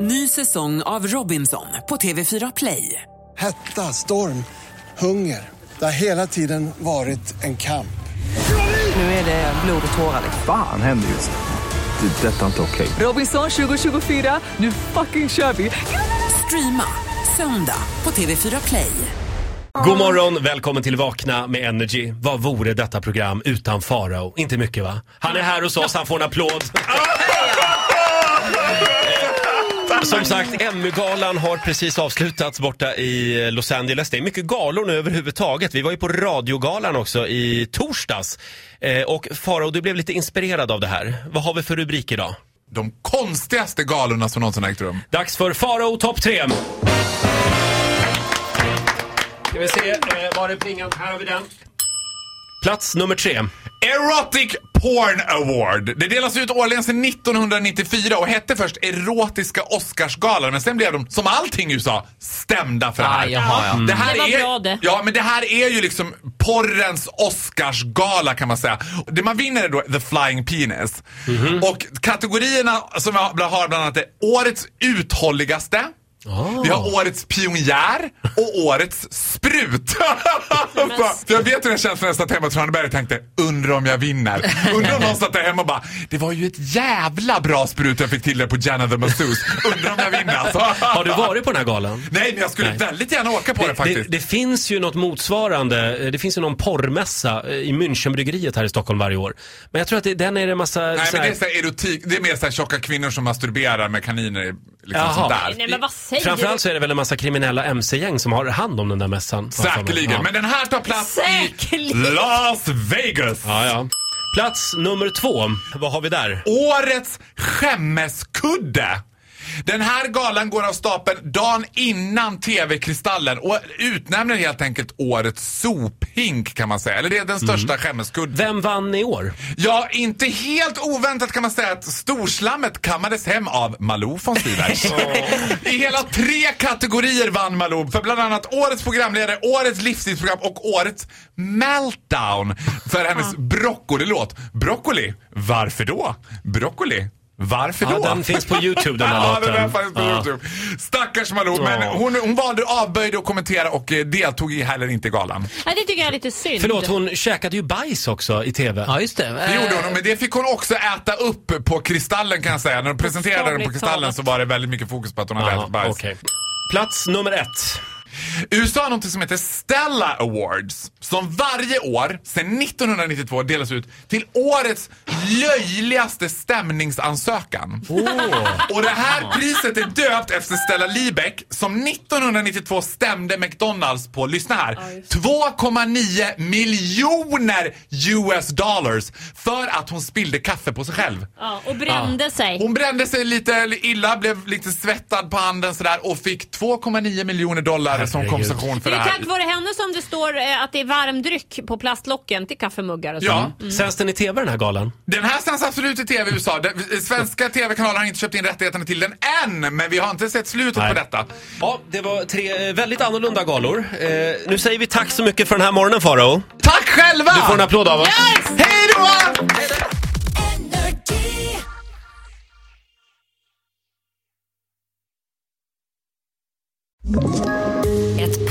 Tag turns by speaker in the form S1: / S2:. S1: Ny säsong av Robinson på TV4 Play.
S2: Hetta, storm, hunger. Det har hela tiden varit en kamp.
S1: Nu är det blod och tårar.
S3: Fan händer just nu. Det. är Detta är inte okej.
S1: Robinson 2024, nu fucking kör vi! Streama söndag på TV4 Play.
S4: God morgon, välkommen till Vakna med Energy. Vad vore detta program utan Farao? Inte mycket va? Han är här hos oss, han får en applåd. Som sagt, Emmy-galan har precis avslutats borta i Los Angeles. Det är mycket galor nu överhuvudtaget. Vi var ju på radiogalan också i torsdags. Eh, och Farao, du blev lite inspirerad av det här. Vad har vi för rubrik idag?
S5: de konstigaste galorna som någonsin har ägt rum.
S4: Dags för Farao topp 3. Ska vi se, eh, var är plingan? Här har vi den. Plats nummer tre.
S5: Erotic Porn Award. Det delas ut årligen sedan 1994 och hette först Erotiska Oscarsgalan men sen blev de, som allting i USA, stämda för det här.
S6: Ah, jaha, ja.
S5: det, här
S6: Det var
S5: är,
S6: bra det.
S5: Ja, men det här är ju liksom porrens Oscarsgala kan man säga. Det man vinner är då The Flying Penis.
S4: Mhm.
S5: Och kategorierna som jag har bland annat är Årets uthålligaste,
S4: Ah.
S5: Vi har årets pionjär och årets sprut. För jag vet hur den känns nästan att hemma i Traneberg tänkte, undrar om jag vinner. Undrar om någon satt där hemma och bara, det var ju ett jävla bra sprut jag fick till det på Jenna the Masseuse. Undrar om jag vinner alltså.
S4: Har du varit på den här galan?
S5: Nej, men jag skulle
S4: Nej.
S5: väldigt gärna åka på det,
S4: det,
S5: faktiskt.
S4: det finns ju något motsvarande. eh, Det finns ju någon porrmässa eh, i Münchenbryggeriet här i Stockholm varje år. Men jag tror att det, den är en massa...
S5: Nej,
S4: så
S5: men
S4: här-
S5: det är så här erotik. Det är mer så här tjocka kvinnor som masturberar med kaniner i- liksom
S4: Jaha.
S5: sånt
S4: Nej,
S5: där.
S6: Nej men vad säger
S4: Framförallt så är det väl en massa kriminella mc-gäng som har hand om den där mässan.
S5: Säkerligen.
S4: Ja.
S5: Men den här tar plats i
S6: Säkerligen.
S5: Las Vegas.
S4: Ja, ja. Plats nummer två. Vad har vi där?
S5: Årets skämmeskudde. Den här galan går av stapeln dagen innan TV-kristallen och utnämner helt enkelt årets sophink kan man säga. Eller det är den största
S4: Mm.
S5: skämmeskudden.
S4: Vem vann i år?
S5: Ja, inte helt oväntat kan man säga att storslammet kammades hem av Malou von Sivers. I hela tre kategorier vann Malou för bland annat årets programledare, årets livsstilsprogram och årets meltdown för hennes broccolilåt. Broccoli, varför då? Broccoli, varför
S4: Ja,
S5: då?
S4: den finns på YouTube den här
S5: Ja,
S4: låten.
S5: den finns på
S4: Ja.
S5: YouTube. Stackars Malou, men
S4: Ja.
S5: hon, hon valde avböjde att kommentera och eh, deltog i heller inte i galan.
S6: Nej det tycker jag är lite synd.
S4: Förlåt, hon käkade ju bajs också i TV.
S6: Ja just det.
S5: Det gjorde hon, men det fick hon också äta upp på Kristallen kan jag säga. När de presenterade den på
S6: Bokstavligt
S5: Kristallen
S6: talat.
S5: så var det väldigt mycket fokus på att hon hade
S4: Aha,
S5: ätit bajs.
S4: okej. Plats nummer ett.
S5: USA har någonting som heter Stella Awards som varje år sedan 1992 delas ut till årets löjligaste stämningsansökan. Och det här priset är döpt efter Stella Liebeck som 1992 stämde McDonalds på, lyssna här, 2,9 miljoner US dollars för att hon spillde kaffe på sig själv.
S6: Ja, och brände sig.
S5: Ah. Hon brände sig lite illa, blev lite svettad på handen sådär och fick 2,9 miljoner dollar som
S4: Herregud.
S5: kompensation för
S6: Det
S5: det
S6: är
S5: här.
S6: tack vare henne som det står eh, att det är varmdryck på plastlocken till kaffemuggar och så.
S5: Ja,
S4: Sänds den i TV den här galan?
S5: den här sänds absolut i TV i USA. Den, eh, svenska TV-kanaler har inte köpt in rättigheterna till den än, men vi har inte sett slutet
S4: Nej.
S5: på detta.
S4: Ja, det var tre eh, väldigt annorlunda galor. Eh, nu säger vi tack så mycket för den här morgonen Faro.
S5: Tack själva!
S4: Du får en applåd av oss.
S5: Hej då!
S7: Ett